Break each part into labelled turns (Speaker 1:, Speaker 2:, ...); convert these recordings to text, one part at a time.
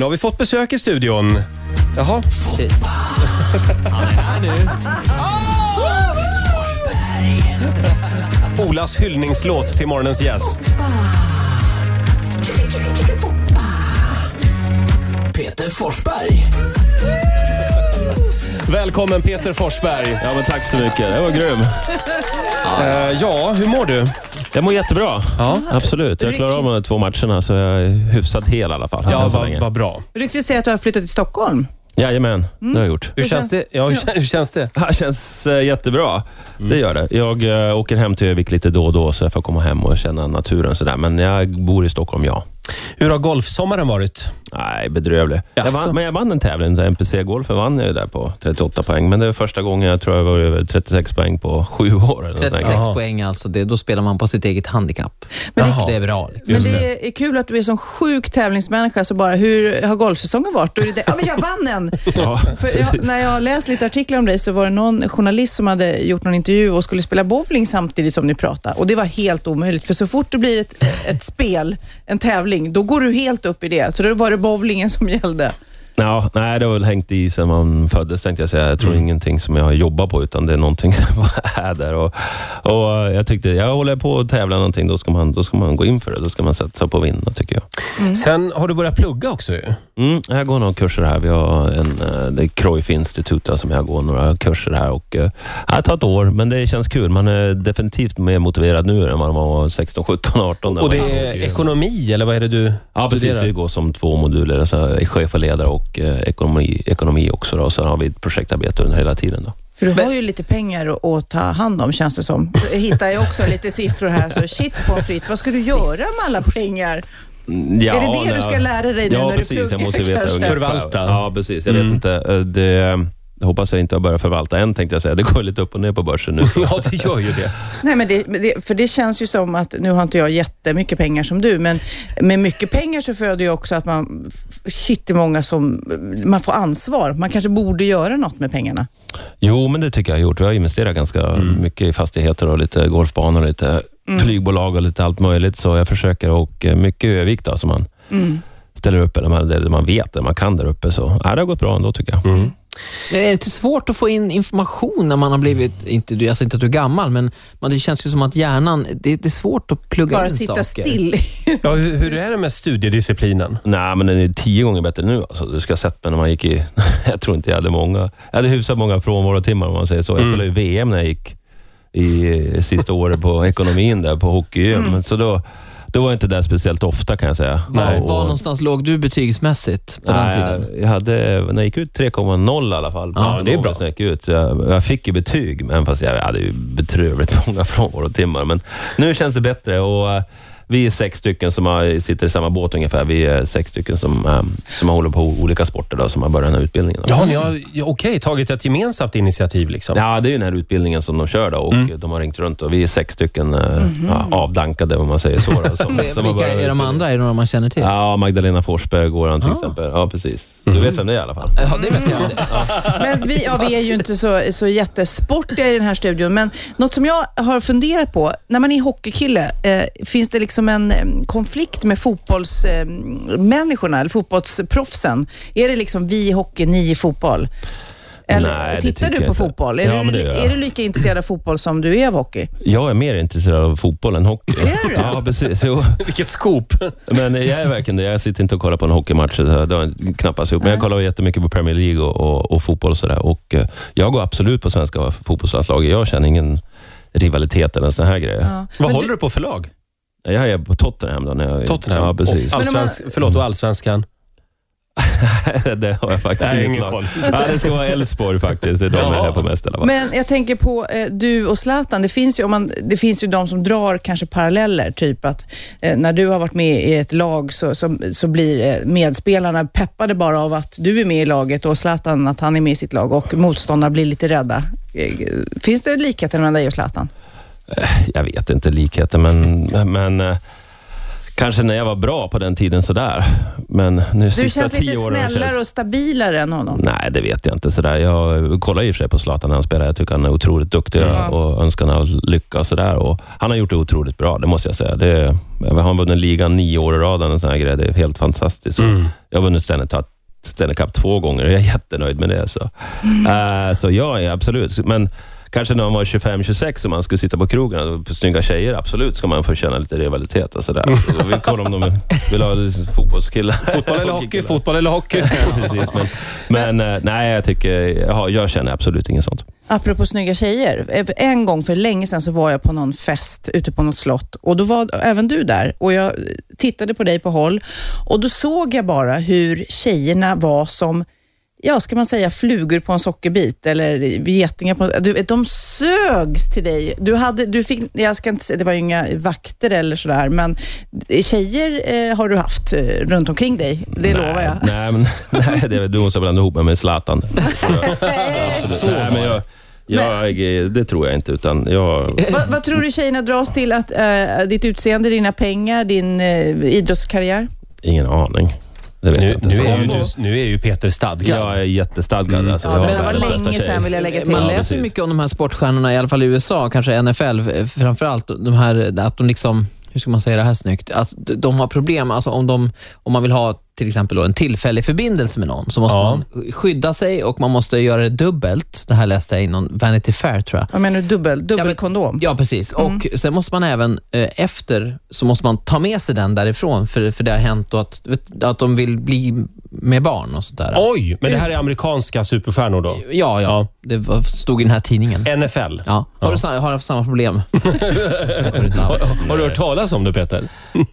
Speaker 1: Nu har vi fått besök i studion. Jaha. Olas hyllningslåt till morgonens gäst.
Speaker 2: Peter Forsberg.
Speaker 1: Välkommen Peter Forsberg.
Speaker 3: Ja, men tack så mycket. Det var grym.
Speaker 1: Eh, ja, hur mår du?
Speaker 3: Jag mår jättebra. Ja. Absolut. Jag klarar av de här två matcherna, så jag är hyfsat hel i alla fall.
Speaker 1: Ja,
Speaker 3: än så
Speaker 1: vad
Speaker 3: länge.
Speaker 1: va bra.
Speaker 4: Ryktet säger att du har flyttat till Stockholm.
Speaker 3: Jajamän, det har jag gjort.
Speaker 1: Hur känns det? Ja, hur, hur känns det?
Speaker 3: Mm. Det här känns eh, jättebra. Det gör det. Jag eh, åker hem till Övik lite då och då, så jag får komma hem och känna naturen. Så där. Men jag bor i Stockholm, ja.
Speaker 1: Hur har golfsommaren varit?
Speaker 3: Nej, bedrövlig. Jag
Speaker 1: Jaså?
Speaker 3: vann, men jag vann en tävling, NPC-golf, vann jag ju där på 38 poäng. Men det var första gången jag tror jag var över 36 poäng på sju år. Eller något sånt där.
Speaker 2: 36 poäng alltså, det, då spelar man på sitt eget handikapp.
Speaker 4: Men
Speaker 2: Det är bra. Liksom.
Speaker 4: Men det är kul att du är som sjuk tävlingsmänniska, så bara hur har golfsäsongen varit? Då är det det, ja, men jag vann en!
Speaker 3: Ja,
Speaker 4: För jag,
Speaker 3: precis.
Speaker 4: när jag har läst lite artiklar om dig så var det någon journalist som hade gjort någon intervju och skulle spela bowling samtidigt som ni pratade. Och det var helt omöjligt, för så fort det blir ett, ett spel, en tävling, då går du helt upp i det. Så då var det bowlingen som gällde.
Speaker 3: Ja, nej, det har väl hängt i sedan man föddes, tänkte jag säga. Jag
Speaker 1: Mm.
Speaker 3: tror ingenting som jag har jobbat på, utan det är någonting som bara är där. Och, och jag tyckte, jag håller på och tävlar någonting, då ska, man, då ska man gå in för det. Då ska man satsa på att vinna, tycker jag.
Speaker 1: Sen har du börjat plugga också ju.
Speaker 3: Mm, jag går några kurser här. Vi har en, eh, det är Cruyff Institute där som jag går några kurser här. Och, eh, det tar ett år, men det känns kul. Man är definitivt mer motiverad nu än vad man var 16, 17, 18. när
Speaker 1: Och
Speaker 3: man-
Speaker 1: alltså, det är ekonomi, eller vad är det du
Speaker 3: Ja, precis. Vi
Speaker 1: studerar?
Speaker 3: går som två moduler. Alltså, chef och ledare och eh, ekonomi, ekonomi också. Då. Och sen har vi ett projektarbete under hela tiden. Då.
Speaker 4: För du har ju lite pengar att, att ta hand om, känns det som. Jag hittar ju också lite siffror här, så shit på fritt. Vad ska du göra med alla pengar?
Speaker 3: Mm, Ja,
Speaker 4: Är det det du ska lära dig nu
Speaker 3: ja,
Speaker 4: när du
Speaker 3: precis,
Speaker 4: pluggar,
Speaker 3: Jag måste ju veta
Speaker 4: kanske?
Speaker 3: ungefär.
Speaker 1: Förvalta.
Speaker 3: Ja, precis. Jag vet inte. Eh, Det, jag hoppas jag inte har börjat förvalta än, tänkte jag säga. Det går lite upp och ner på börsen nu.
Speaker 1: Ja, det gör ju det.
Speaker 4: Nej, men det, men det, för det känns ju som att, nu har inte jag jättemycket pengar som du, men med mycket pengar så föder ju också att man, shit det är många som, man får ansvar. Man kanske borde göra något med pengarna.
Speaker 3: Jo, men det tycker jag har gjort. Vi har investerat ganska mycket i fastigheter och lite golfbanor, och lite
Speaker 4: Mm.
Speaker 3: flygbolag och lite allt möjligt. Så jag försöker och eh, mycket i Ö-vik då, som man
Speaker 4: Mm.
Speaker 3: ställer upp, eller man, det man vet, det man kan där uppe. Så ja, det har gått bra ändå, tycker jag.
Speaker 2: Men är det inte svårt att få in information när man har blivit, inte, du- alltså inte att du är gammal, men man, det känns ju som att hjärnan, det, det är svårt att plugga
Speaker 4: Bara
Speaker 2: in
Speaker 4: sitta
Speaker 2: saker.
Speaker 4: still.
Speaker 1: Ja, hur, hur är det med studiedisciplinen?
Speaker 3: Nej, men den är tio gånger bättre nu. Alltså, du ska ha sett mig när man gick i... Jag tror inte jag hade många... Jag hade hyfsat många frånvarotimmar om man säger så. Jag spelade ju VM när jag gick i sista året på ekonomin där på hockey Men Så då, då var jag inte där speciellt ofta kan jag säga.
Speaker 2: Var,
Speaker 1: Nej.
Speaker 3: Och-
Speaker 2: var någonstans låg du betygsmässigt på den
Speaker 3: Nej,
Speaker 2: tiden?
Speaker 3: jag- jag hade, när jag gick ut 3,0 i alla fall.
Speaker 1: Ja, det är bra.
Speaker 3: När Jag, gick ut. Jag, jag fick ju betyg, men fast jag hade ju bedrövligt många frånvarotimmar. Men nu känns det bättre och eh, vi är sex stycken som har, sitter i samma båt ungefär. Vi är sex stycken som, eh, som håller på olika sporter då, som har börjat den här utbildningen.
Speaker 1: Ja, ni har ja, okej, tagit ett gemensamt initiativ liksom.
Speaker 3: Ja, det är ju den här utbildningen som de kör då och
Speaker 1: Mm.
Speaker 3: de har ringt runt och vi är sex stycken eh,
Speaker 2: Mhm.
Speaker 3: ja, avdankade, om man säger så. Då, som, som har
Speaker 2: Vilka
Speaker 3: börjat
Speaker 2: är de
Speaker 3: utbildningen.
Speaker 2: andra? Är det några man känner till?
Speaker 3: Ja, Magdalena Forsberg går han till exempel. Ja, precis.
Speaker 1: Mm.
Speaker 3: Du vet vem det är i alla fall.
Speaker 2: Ja, det vet jag.
Speaker 4: Men vi, ja, vi är ju inte så, så jättesportiga i den här studion, men något som jag har funderat på, när man är hockeykille, eh, finns det liksom en eh, konflikt med fotbollsmänniskorna, eh, människorna, eller fotbollsproffsen? Är det liksom vi i hockey, ni i fotboll? Eller,
Speaker 3: Nej, det
Speaker 4: tittar
Speaker 3: tycker
Speaker 4: du på
Speaker 3: jag inte.
Speaker 4: fotboll? Är,
Speaker 3: Ja,
Speaker 4: du,
Speaker 3: men det gör jag.
Speaker 4: är du lika intresserad av fotboll som du är av hockey?
Speaker 3: Jag är mer intresserad av fotboll än hockey.
Speaker 4: Är du?
Speaker 3: Ja, precis. Jo.
Speaker 1: Vilket scoop!
Speaker 3: Men jag är verkligen det. Jag sitter inte och kollar på en hockeymatch. så Det har knappast gjort. Men jag kollar jättemycket på Premier League och, och, och fotboll och sådär. Och eh, jag går absolut på svenska fotbollslandslaget. Jag känner ingen rivalitet eller såna här grejer.
Speaker 4: Ja.
Speaker 1: Vad
Speaker 4: Men
Speaker 1: håller
Speaker 4: du,
Speaker 1: du på för lag?
Speaker 3: Jag är på Tottenham då. När jag,
Speaker 1: Tottenham?
Speaker 3: Ja, precis.
Speaker 1: Och
Speaker 4: Men om man-
Speaker 1: allsvensk, förlåt, och allsvenskan?
Speaker 3: det har jag faktiskt
Speaker 1: Nej,
Speaker 3: ingen
Speaker 1: ingen
Speaker 3: koll.
Speaker 1: koll.
Speaker 3: Ja, det ska vara Elfsborg faktiskt. Det är de
Speaker 1: Ja.
Speaker 3: jag är på mest i alla fall.
Speaker 4: men jag tänker på eh, du och Zlatan. Det finns, ju, om man, det finns ju de som drar kanske paralleller, typ att eh, när du har varit med i ett lag så, så, så blir eh, medspelarna peppade bara av att du är med i laget och Zlatan att han är med i sitt lag och motståndarna blir lite rädda. Eh, Finns det likheter mellan dig och Zlatan?
Speaker 3: jag vet inte likheter, men, men eh, Kanske när jag var bra på den tiden sådär. Men nu
Speaker 4: Du
Speaker 3: sista
Speaker 4: känns
Speaker 3: tio
Speaker 4: lite
Speaker 3: åren har jag känt-
Speaker 4: snällare och stabilare än honom.
Speaker 3: Nej, det vet jag inte. Sådär. Jag kollar i och för sig på Zlatan när han spelar. Jag tycker han är otroligt duktig
Speaker 4: Ja.
Speaker 3: och önskar honom all lycka. Och sådär. Och han har gjort det otroligt bra, det måste jag säga. Det, han har vunnit ligan nio år i rad. och sån här grej. Det är helt fantastiskt. Och
Speaker 1: Mm.
Speaker 3: Jag har vunnit Stanley Cup- Stanley Cup två gånger och jag är jättenöjd med det. Så,
Speaker 1: Mm.
Speaker 3: Eh, så jag är absolut... Men kanske när man var 25-26 och man skulle sitta på krogen och på snygga tjejer, absolut ska man få känna lite rivalitet och sådär. Och Vi kollar om de vill ha fotbollskillar.
Speaker 1: Fotboll eller hockey? Fotboll eller hockey?
Speaker 3: Precis, men, men eh, nej, jag, tycker, jag, har- jag känner absolut inget sånt.
Speaker 4: Apropå snygga tjejer. eh, En gång för länge sedan så var jag på någon fest ute på något slott och då var även du där och jag tittade på dig på håll och då såg jag bara hur tjejerna var som Ja, ska man säga flugor på en sockerbit eller getingar på en... Du, vet, de sögs till dig. Du hade, du fick, jag ska inte säga, det var ju inga vakter eller sådär, men tjejer eh, har du haft eh, runt omkring dig. Det lovar jag.
Speaker 3: Nej, men, nej det, du måste blanda ihop mig med Zlatan. Absolut. nej, men jag, jag, det tror jag inte, utan jag...
Speaker 4: Vad, vad tror du tjejerna dras till? Att, eh, ditt utseende, dina pengar, din eh, idrottskarriär?
Speaker 3: Ingen aning. Det vet jag
Speaker 1: Nu,
Speaker 3: inte.
Speaker 1: nu,
Speaker 3: Så-
Speaker 1: är Mm. ju du, nu är ju Peter stadgad.
Speaker 3: Jag är jättestadgad. Alltså,
Speaker 4: Ja,
Speaker 3: jag
Speaker 4: men
Speaker 3: har
Speaker 4: det var
Speaker 3: världens
Speaker 4: länge
Speaker 3: bästa tjejer.
Speaker 4: sedan, vill jag lägga till.
Speaker 2: Eh, Man
Speaker 3: Ja,
Speaker 2: läser
Speaker 3: precis.
Speaker 2: ju mycket om de här sportstjärnorna, i alla fall i USA, kanske NFL eh, framförallt. De här, att de liksom, hur ska man säga det här snyggt? Alltså, d- de har problem, alltså om, de, om man vill ha till exempel då, en tillfällig förbindelse med någon, så måste
Speaker 1: Ja.
Speaker 2: man skydda sig och man måste göra det dubbelt. Det här läste jag i någon Vanity Fair, tror jag.
Speaker 4: Vad menar du? Dubbel, dubbelkondom?
Speaker 2: Ja, precis.
Speaker 4: Mm.
Speaker 2: Och Sen måste man även eh, efter så måste man ta med sig den därifrån, för, för det har hänt då att, vet- att de vill bli med barn och sådär.
Speaker 1: Oj, men det här är amerikanska superstjärnor då?
Speaker 2: Ja, ja,
Speaker 1: Ja.
Speaker 2: Det var, stod i den här tidningen.
Speaker 1: NFL?
Speaker 2: Ja. Har, du sa- har haft samma problem? Kommer du inte alls.
Speaker 1: Har du hört talas om det, Peter?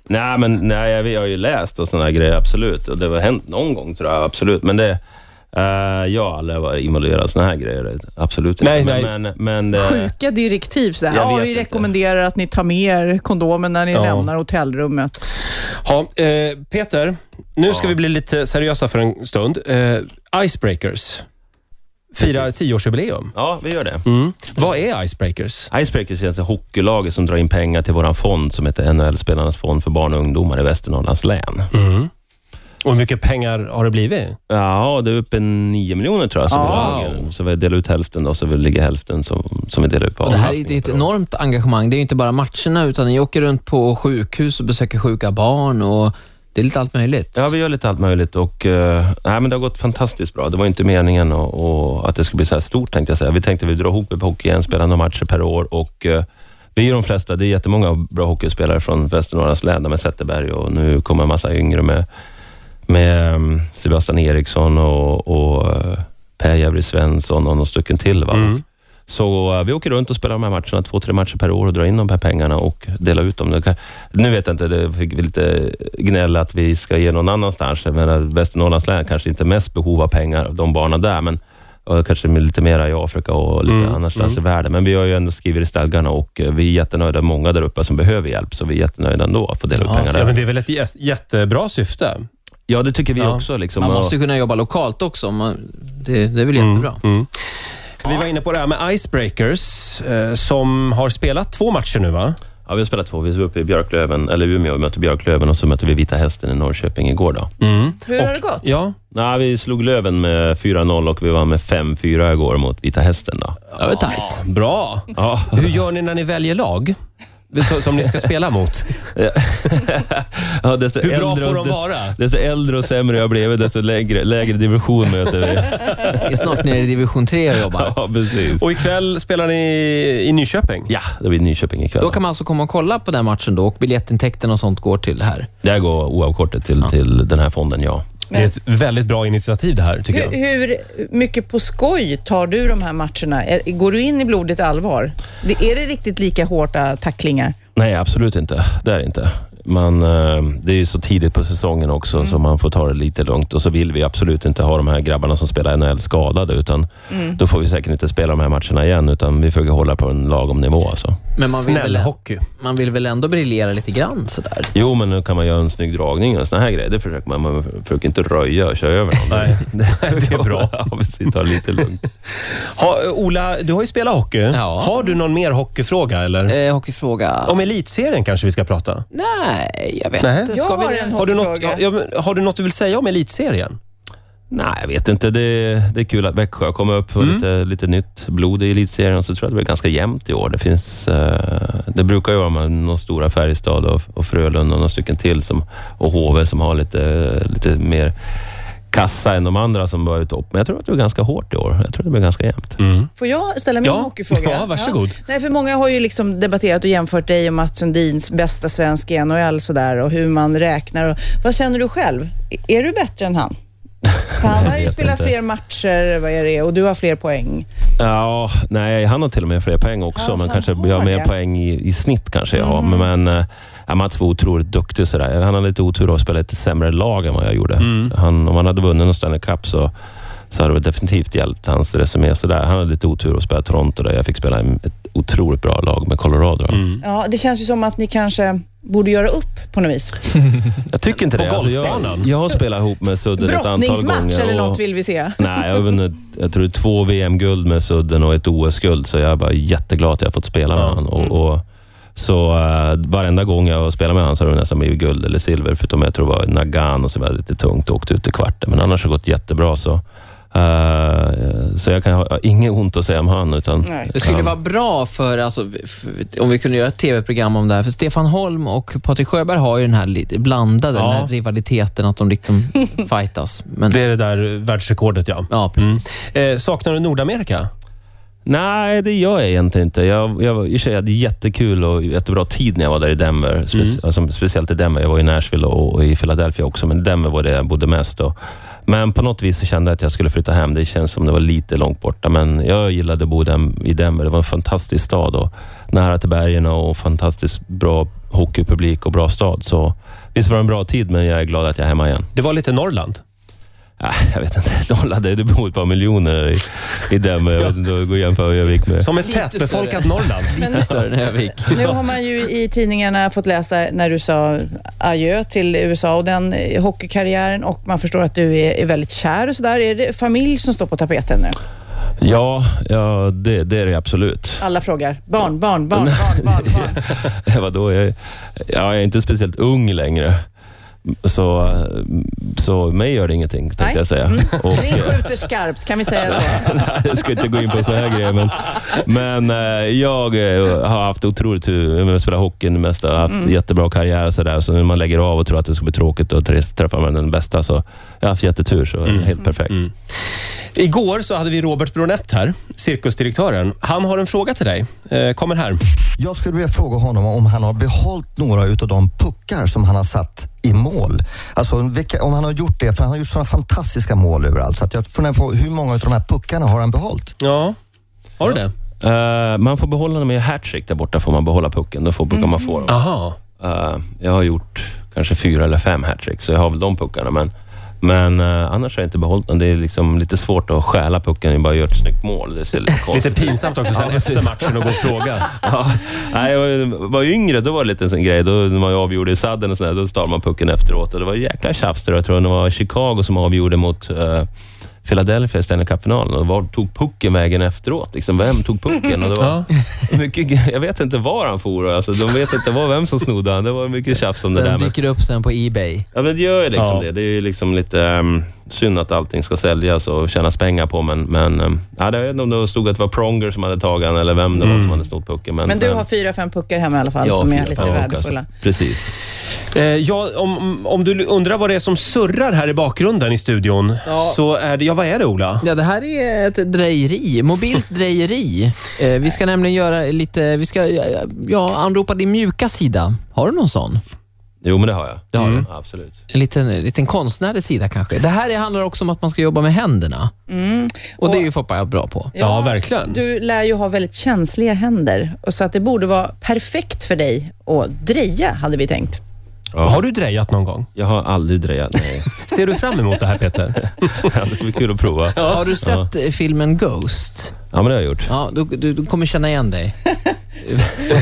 Speaker 3: Nej, men nej, jag, jag har ju läst och sådana grejer, absolut. Och det har hänt någon gång, tror jag. Absolut. Men det... eh, jag har aldrig varit involverad i såna här grejer. Absolut inte.
Speaker 1: Nej,
Speaker 3: men,
Speaker 1: nej.
Speaker 3: Men, men, eh, det-
Speaker 4: Sjuka direktiv. Så här.
Speaker 3: Jag
Speaker 4: Ja,
Speaker 3: vet
Speaker 4: vi
Speaker 3: inte.
Speaker 4: rekommenderar att ni tar med er kondomen när ni
Speaker 1: Ja.
Speaker 4: lämnar hotellrummet.
Speaker 1: Ja, eh, Peter, nu ska vi bli lite seriösa för en stund. Eh, icebreakers firar tioårsjubileum.
Speaker 3: Ja, vi gör det.
Speaker 1: Vad är icebreakers?
Speaker 3: Icebreakers är alltså hockeylaget som drar in pengar till vår fond som heter NHL-spelarnas fond för barn och ungdomar i Västernorrlands län.
Speaker 1: Och hur mycket pengar har det blivit?
Speaker 3: Ja, det är uppe 9 miljoner tror jag. Som
Speaker 1: Wow.
Speaker 3: vi lagar. så vi delar ut hälften och så vi ligger hälften som, som vi delar ut på
Speaker 2: Och det här är,
Speaker 3: avkastningen
Speaker 2: det är ett
Speaker 3: per år.
Speaker 2: enormt engagemang. Det är ju inte bara matcherna, utan ni åker runt på sjukhus och besöker sjuka barn och det är lite allt möjligt.
Speaker 3: Ja, vi gör lite allt möjligt och eh, nej, men det har gått fantastiskt bra. Det var inte meningen och, och att det skulle bli så här stort, tänkte jag säga. Vi tänkte vi drar ihop det på hockey igen, spelar några matcher per år och eh, vi är ju de flesta. Det är jättemånga bra hockeyspelare från Västernorrlands län, där med Zetterberg och nu kommer en massa yngre med, med eh, Sebastian Eriksson och, och eh, Per Jävri Svensson och några stycken till. Va? Så eh, vi åker runt och spelar de här matcherna, två, tre matcher per år och drar in de här pengarna och delar ut dem. Det kan- Nu vet jag inte, det fick vi lite gnäll att vi ska ge någon annanstans. Jag menar, Västernorrlands län kanske inte är mest behov av pengar, av de barnen där, men eh, kanske lite mera i Afrika och lite
Speaker 2: Mm,
Speaker 3: annanstans i världen. Men vi har ju ändå skrivit i stadgarna och eh, vi är jättenöjda. Många där uppe som behöver hjälp, så vi är jättenöjda ändå att få dela ut pengar
Speaker 1: Ja,
Speaker 3: där.
Speaker 1: men det är väl ett jä- jättebra syfte?
Speaker 3: Ja, det tycker vi
Speaker 1: Ja.
Speaker 3: också. Liksom,
Speaker 2: Man
Speaker 3: Och-
Speaker 2: måste ju kunna jobba lokalt också. Man, det, det är väl jättebra.
Speaker 1: Vi var inne på det här med Icebreakers, eh, som har spelat två matcher nu, va?
Speaker 3: Ja, vi har spelat två. Vi var uppe i Björklöven, eller Umeå, och mötte Björklöven och så mötte vi Vita Hästen i Norrköping igår. Då.
Speaker 4: Hur har det gått?
Speaker 1: Ja.
Speaker 3: Nej, vi slog Löven med 4-0 och vi vann med 5-4 igår mot Vita Hästen. Då.
Speaker 2: Det var tajt.
Speaker 1: Bra.
Speaker 3: Ja.
Speaker 1: Hur gör ni när ni väljer lag? Så- Som ni ska spela mot?
Speaker 3: Ja, desto
Speaker 1: Hur bra
Speaker 3: äldre
Speaker 1: får
Speaker 3: och
Speaker 1: de
Speaker 3: des-
Speaker 1: vara?
Speaker 3: Desto äldre och sämre jag blev, desto lägre, lägre division möter vi.
Speaker 2: Jag är snart nere i division 3 och jobbar.
Speaker 3: Ja, precis.
Speaker 1: Och ikväll spelar ni i Nyköping?
Speaker 3: Ja, det blir Nyköping ikväll.
Speaker 2: Då kan man alltså komma och kolla på den matchen då och biljettintäkterna och sånt går till det här.
Speaker 3: Där går oavkortet till, till den här fonden, ja.
Speaker 1: Det är ett väldigt bra initiativ det här, tycker jag.
Speaker 4: Hur, hur mycket på skoj tar du de här matcherna? Är- Går du in i blodigt allvar? Det, är det riktigt lika hårda tacklingar?
Speaker 3: Nej, absolut inte. Det är det inte. Man, eh, det är ju så tidigt på säsongen också, så man får ta det lite lugnt. Och så vill vi absolut inte ha de här grabbarna som spelar NHL skadade, utan då får vi säkert inte spela de här matcherna igen, utan vi försöker hålla på en lagom nivå. Alltså.
Speaker 2: Men man vill,
Speaker 1: Snäll
Speaker 2: väl,
Speaker 1: hockey.
Speaker 2: man vill väl ändå briljera lite grann sådär.
Speaker 3: Jo, men nu kan man göra en snygg dragning och såna här grejer. Det försöker man. Man försöker inte röja och köra över någon.
Speaker 1: Nej, det är bra.
Speaker 3: Ja, precis. Ta det lite lugnt.
Speaker 1: Ha, Ola, du har ju spelat hockey.
Speaker 2: Ja.
Speaker 1: Har du någon mer hockeyfråga? Eller?
Speaker 2: Eh, hockeyfråga?
Speaker 1: Om elitserien kanske vi ska prata.
Speaker 2: Nej, Nej, jag vet
Speaker 1: Nej.
Speaker 2: inte.
Speaker 4: Jag
Speaker 2: Ska vi
Speaker 4: har
Speaker 2: det?
Speaker 4: en
Speaker 1: Har du, något,
Speaker 4: hockeyfråga.
Speaker 1: ja, men har du något du vill säga om elitserien?
Speaker 3: Nej, jag vet inte. Det, det är kul att Växjö har kommit upp för
Speaker 1: Mm.
Speaker 3: lite, lite nytt blod i elitserien. och Så tror jag det blir ganska jämnt i år. Det, finns, eh, det brukar ju vara med någon stora Färjestad och, och Frölunda och några stycken till som, och HV som har lite, lite mer kassa än de andra som var i topp. Men jag tror att det blir ganska hårt i år. Jag tror det blir ganska jämnt.
Speaker 1: Mm.
Speaker 4: Får jag ställa min
Speaker 1: Ja.
Speaker 4: hockeyfråga?
Speaker 1: Ja, varsågod.
Speaker 4: Nej, för många har ju liksom debatterat och jämfört dig och Mats Sundins bästa svensk i NHL sådär, och hur man räknar. Och, vad känner du själv? E- Är du bättre än han? För han har ju
Speaker 3: vet
Speaker 4: spelat
Speaker 3: inte.
Speaker 4: fler matcher vad är det, och du har fler poäng.
Speaker 3: Ja, nej, han har till och med fler poäng också,
Speaker 4: Ja,
Speaker 3: men
Speaker 4: han
Speaker 3: kanske
Speaker 4: har
Speaker 3: jag har mer
Speaker 4: det. Mhm.
Speaker 3: poäng i, i snitt kanske jag har. Men, men eh, ja, Mats var otroligt duktig. Sådär. Han hade lite otur att spela lite sämre lag än vad jag gjorde.
Speaker 1: Mm.
Speaker 3: Han, om han hade vunnit någon Stanley Cup så, så hade det definitivt hjälpt hans resumé. Sådär. Han hade lite otur att spela i Toronto där jag fick spela i ett otroligt bra lag med Colorado.
Speaker 1: Mm.
Speaker 4: Ja, det känns ju som att ni kanske borde göra upp på något vis.
Speaker 3: Jag tycker inte
Speaker 1: På
Speaker 3: det. Alltså, jag,
Speaker 1: golfbanan?
Speaker 3: jag har spelat ihop med Sudden ett antal
Speaker 4: Brottningsmatch
Speaker 3: gånger.
Speaker 4: eller
Speaker 3: och-
Speaker 4: något vill vi se.
Speaker 3: Nej, jag har vunnit jag tror det är två VM-guld med Sudden och ett OS-guld, så jag är bara jätteglad att jag har fått spela med honom.
Speaker 2: Mm.
Speaker 3: Och, och, så uh, varenda gång jag har spelat med honom så har det nästan blivit guld eller silver, förutom jag tror det var Nagano som var lite tungt och åkte ut i kvarten. Men annars har det gått jättebra. Så, eh, så jag kan ha jag har inget ont att säga om han. Utan
Speaker 4: Nej.
Speaker 2: Det skulle
Speaker 3: han-
Speaker 2: vara bra för, alltså, f- om vi kunde göra ett tv-program om det här, för Stefan Holm och Patrik Sjöberg har ju den här lite blandade
Speaker 1: Ja.
Speaker 2: den här rivaliteten, att de liksom fightas. Men,
Speaker 1: Det är det där världsrekordet, ja.
Speaker 2: ja, precis.
Speaker 1: Eh, saknar du Nordamerika?
Speaker 3: Nej, det gör jag egentligen inte. Jag, jag, var- i och för sig, jag hade jättekul och jättebra tid när jag var där i Denver. Spe, alltså, speciellt i Denver. Jag var i Nashville och, och i Philadelphia också, men Denver var det jag bodde mest. Och, men på något vis så kände jag att jag skulle flytta hem. Det känns som det var lite långt borta, men jag gillade att bo dem- i Denver. Det var en fantastisk stad och nära till bergen och fantastiskt bra hockeypublik och bra stad. Så visst var det en bra tid, men jag är glad att jag är hemma igen.
Speaker 1: Det var lite Norrland.
Speaker 3: Ja, jag vet inte, Norrland, det bor ett par miljoner i, i Denver. Jag vet inte vad jag går att jämföra Örnsköldsvik med.
Speaker 1: Som ett
Speaker 2: Lite
Speaker 1: tätbefolkat
Speaker 2: större.
Speaker 1: Norrland.
Speaker 2: Lite större än Övik.
Speaker 4: Nu har man ju i tidningarna fått läsa när du sa adjö till USA och den eh, hockeykarriären och man förstår att du är, är väldigt kär och sådär. Är det familj som står på tapeten nu?
Speaker 3: Ja, ja det, det är det absolut.
Speaker 4: Alla frågar. Barn, barn, barn, barn, barn. barn.
Speaker 3: Vadå, jag, jag är inte speciellt ung längre. Så, så mig gör det ingenting, tänkte
Speaker 4: Nej.
Speaker 3: jag säga. Och,
Speaker 4: Ni skjuter skarpt, kan vi säga så?
Speaker 3: nej, jag ska inte gå in på så här grejer, men, men eh, jag eh, har haft otroligt tur. Jag spelar hockey det mesta, har haft jättebra karriär och så där. Så när man lägger av och tror att det ska bli tråkigt och trä- träffar man den bästa, så jag har haft jättetur. Så helt perfekt.
Speaker 1: Igår så hade vi Robert Bronett här, cirkusdirektören. Han har en fråga till dig. Eh, kommer här.
Speaker 5: Jag skulle vilja fråga honom om han har behållit några utav de puckar som han har satt i mål. Alltså vilka, om han har gjort det, för han har gjort sådana fantastiska mål överallt. Så att jag funderar på hur många av de här puckarna har han behållit?
Speaker 1: Ja. Har du det?
Speaker 3: Eh, man får behålla dem i hattrick där borta, får man behålla pucken. Då får puckar man får dem.
Speaker 1: Aha.
Speaker 3: Eh, jag har gjort kanske fyra eller fem hattrick, så jag har väl de puckarna. Men, men eh, annars har jag inte behållit den. Det är liksom lite svårt att stjäla pucken. Jag bara gör ett snyggt mål. Det ser lite
Speaker 1: Lite
Speaker 3: konstigt
Speaker 1: pinsamt också sen efter matchen att gå och fråga.
Speaker 3: Ja. Nej, jag var- var yngre, då var det lite en sån grej. Då, när man avgjorde i sadden och sådär, då stal man pucken efteråt. Och det var jäkla tjafs. där. Jag tror det var Chicago som avgjorde mot eh, Philadelphia i Stanley Cup-finalen. Och Var tog pucken vägen efteråt? Liksom, vem tog pucken? Och det var mycket, jag vet inte var han for. Alltså, de vet inte var, vem som snodde han. Det var mycket tjafs om det där.
Speaker 2: Den
Speaker 3: Men,
Speaker 2: dyker upp sen på Ebay.
Speaker 3: ja, men det gör ju liksom
Speaker 1: Ja.
Speaker 3: det. Det är ju liksom lite ehm, synd att allting ska säljas och tjänas pengar på, men, men ehm, ja, det- jag vet inte om det stod att det var Pronger som hade tagit han eller vem det
Speaker 1: Mm.
Speaker 3: var som hade snott pucken. Men,
Speaker 4: Men du har fyra, fem puckar hemma i alla fall som är
Speaker 3: fyra,
Speaker 4: lite
Speaker 3: fem puckar,
Speaker 4: värdefulla.
Speaker 3: alltså. Precis.
Speaker 1: Eh, ja, om, om du undrar vad det är som surrar här i bakgrunden i studion, så är det... Ja, vad är det, Ola?
Speaker 2: Ja, det här är ett drejeri, mobilt drejeri. Eh, vi ska nämligen göra lite, vi ska ja, ja, anropa din mjuka sida. Har du någon sån?
Speaker 3: Jo, men det har jag.
Speaker 2: Det har
Speaker 3: mm. Absolut.
Speaker 2: En liten, en liten konstnärlig sida kanske. Det här är- handlar också om att man ska jobba med händerna. Och, det är ju Foppa bra på.
Speaker 1: Ja, verkligen.
Speaker 4: Du lär ju ha väldigt känsliga händer, och så att det borde vara perfekt för dig att dreja, hade vi tänkt.
Speaker 3: Ja.
Speaker 1: Har du drejat någon gång?
Speaker 3: Jag har aldrig drejat. Nej.
Speaker 1: Ser du fram emot det här, Peter?
Speaker 3: det blir kul att prova. Ja,
Speaker 2: Har du sett eh, filmen Ghost?
Speaker 3: men det har jag gjort.
Speaker 2: Ja, du, du, du kommer känna igen dig.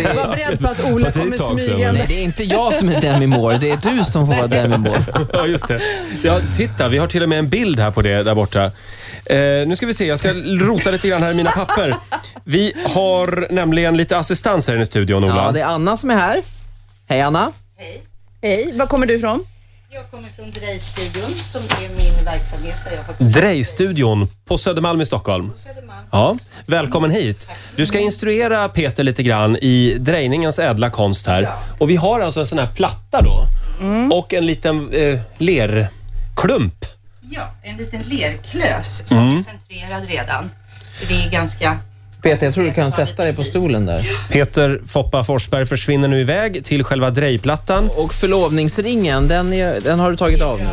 Speaker 4: Jag var beredd på att Ola
Speaker 3: Fast det är
Speaker 4: kommer
Speaker 3: ett tag sedan,
Speaker 4: smygande.
Speaker 2: Nej, det är inte jag som är Demi Moore. Det är du som får vara Demi Moore.
Speaker 1: Ja, just det. Ja, titta, vi har till och med en bild här på det där borta. Eh, nu ska vi se, jag ska rota lite grann här i mina papper. Vi har nämligen lite assistans här inne i studion, Ola.
Speaker 2: Ja, det är Anna som är här. Hej Anna.
Speaker 4: Hej, var kommer du ifrån?
Speaker 6: Jag kommer från Drejstudion som är min verksamhet där jag har
Speaker 1: Drejstudion på Södermalm i Stockholm.
Speaker 6: Södermalm.
Speaker 1: Ja, välkommen hit. Du ska instruera Peter lite grann i drejningens ädla konst här. Och vi har alltså en sån här platta då och en liten eh, lerklump.
Speaker 6: Ja, en liten lerklös som är centrerad redan. För det är ganska...
Speaker 2: Peter, jag tror du kan sätta dig på stolen där.
Speaker 1: Peter Foppa Forsberg försvinner nu iväg till själva drejplattan.
Speaker 2: Och förlovningsringen, den, är, den har du tagit av nu.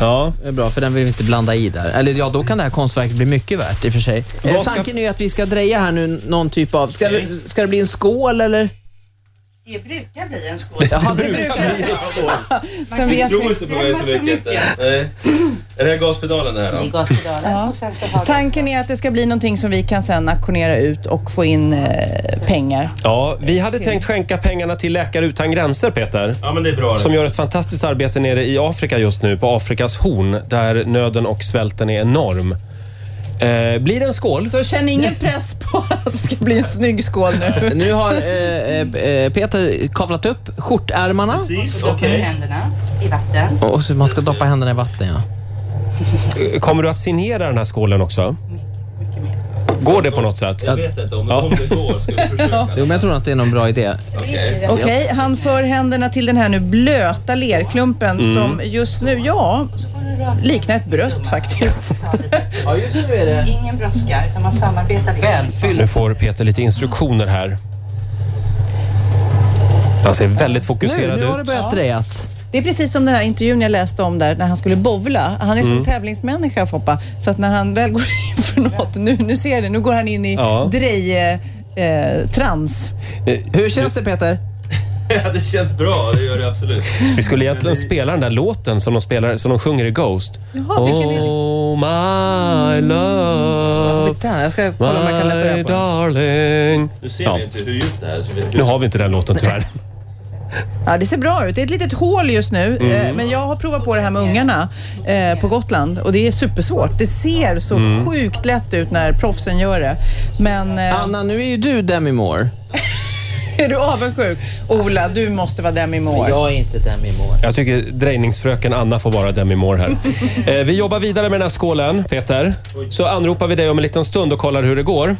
Speaker 1: Ja.
Speaker 2: Det är bra, för den vill vi inte blanda i där. Eller ja, då kan det här konstverket bli mycket värt i och för sig. Eh,
Speaker 1: Vad ska-
Speaker 2: Tanken är ju att vi ska dreja här nu någon typ av... Ska, det- ska det bli en skål eller?
Speaker 6: Det brukar bli en skål.
Speaker 2: Jaha, det
Speaker 4: Sen vet vi.
Speaker 3: inte på mig så mycket. Är det här gaspedalen det här
Speaker 6: I gaspedalen. Och sen så har vi
Speaker 4: Tanken är att det ska bli någonting som vi kan sen auktionera ut och få in eh, pengar.
Speaker 1: ja, vi hade tänkt skänka pengarna till Läkare Utan Gränser, Peter.
Speaker 3: Ja, men det är bra.
Speaker 1: Som gör ett fantastiskt arbete nere i Afrika just nu, på Afrikas horn, där nöden och svälten är enorm. Eh, blir det en skål?
Speaker 4: Så känn ingen press på att det ska bli en snygg skål nu.
Speaker 2: Nu har eh, eh, eh, Peter kavlat upp skjortärmarna.
Speaker 3: Precis,
Speaker 6: doppar
Speaker 3: okej.
Speaker 6: händerna i vatten.
Speaker 2: Och så man ska doppa händerna i vatten, ja.
Speaker 1: Eh, Kommer du att signera den här skålen också?
Speaker 6: Mycket mer.
Speaker 1: Går det på något sätt?
Speaker 3: Jag vet inte, om det, om det går ska vi försöka.
Speaker 2: Jo, men jag tror att det är någon bra idé.
Speaker 3: Okej.
Speaker 4: Okej, han för händerna till den här nu blöta lerklumpen som just nu, ja, liknar ett bröst faktiskt.
Speaker 2: Ja, just nu är det...
Speaker 6: Ingen brådska, utan man samarbetar. lite.
Speaker 2: Välfylld.
Speaker 1: Nu får Peter lite instruktioner här. Han ser väldigt
Speaker 2: Nu,
Speaker 1: fokuserad
Speaker 2: nu har det
Speaker 1: ut.
Speaker 2: börjat drejas.
Speaker 4: Det är precis som den här intervjun jag läste om där när han skulle bowla. Han är som tävlingsmänniska Foppa, så att när han väl går in för något, nu, nu ser jag det, nu går han in i
Speaker 1: Ja.
Speaker 4: dreje... Eh, trans.
Speaker 2: Hur känns det Peter?
Speaker 3: Ja, det känns bra, det gör det absolut.
Speaker 1: Vi skulle egentligen spela den där låten som de, spelar, som de sjunger i Ghost.
Speaker 4: Jaha, vilken är det?
Speaker 1: Oh my love,
Speaker 2: Där, jag ska kolla om jag kan lätta
Speaker 1: my
Speaker 2: reda på
Speaker 1: darling.
Speaker 3: Nu ser
Speaker 1: Ja.
Speaker 3: vi inte hur djupt det här är. Så vi,
Speaker 1: Nu har vi inte den låten tyvärr.
Speaker 4: Ja, det ser bra ut. Det är ett litet hål just nu, eh, men jag har provat på det här med ungarna eh, på Gotland och det är supersvårt. Det ser så sjukt lätt ut när proffsen gör det. Men eh,
Speaker 2: Anna, nu är ju du Demi Moore.
Speaker 4: är du avundsjuk? Ola, du måste vara Demi Moore.
Speaker 2: Jag är inte Demi Moore.
Speaker 1: Jag tycker drejningsfröken Anna får vara Demi Moore här. Eh, Vi jobbar vidare med den här skålen, Peter. Så anropar vi dig om en liten stund och kollar hur det går.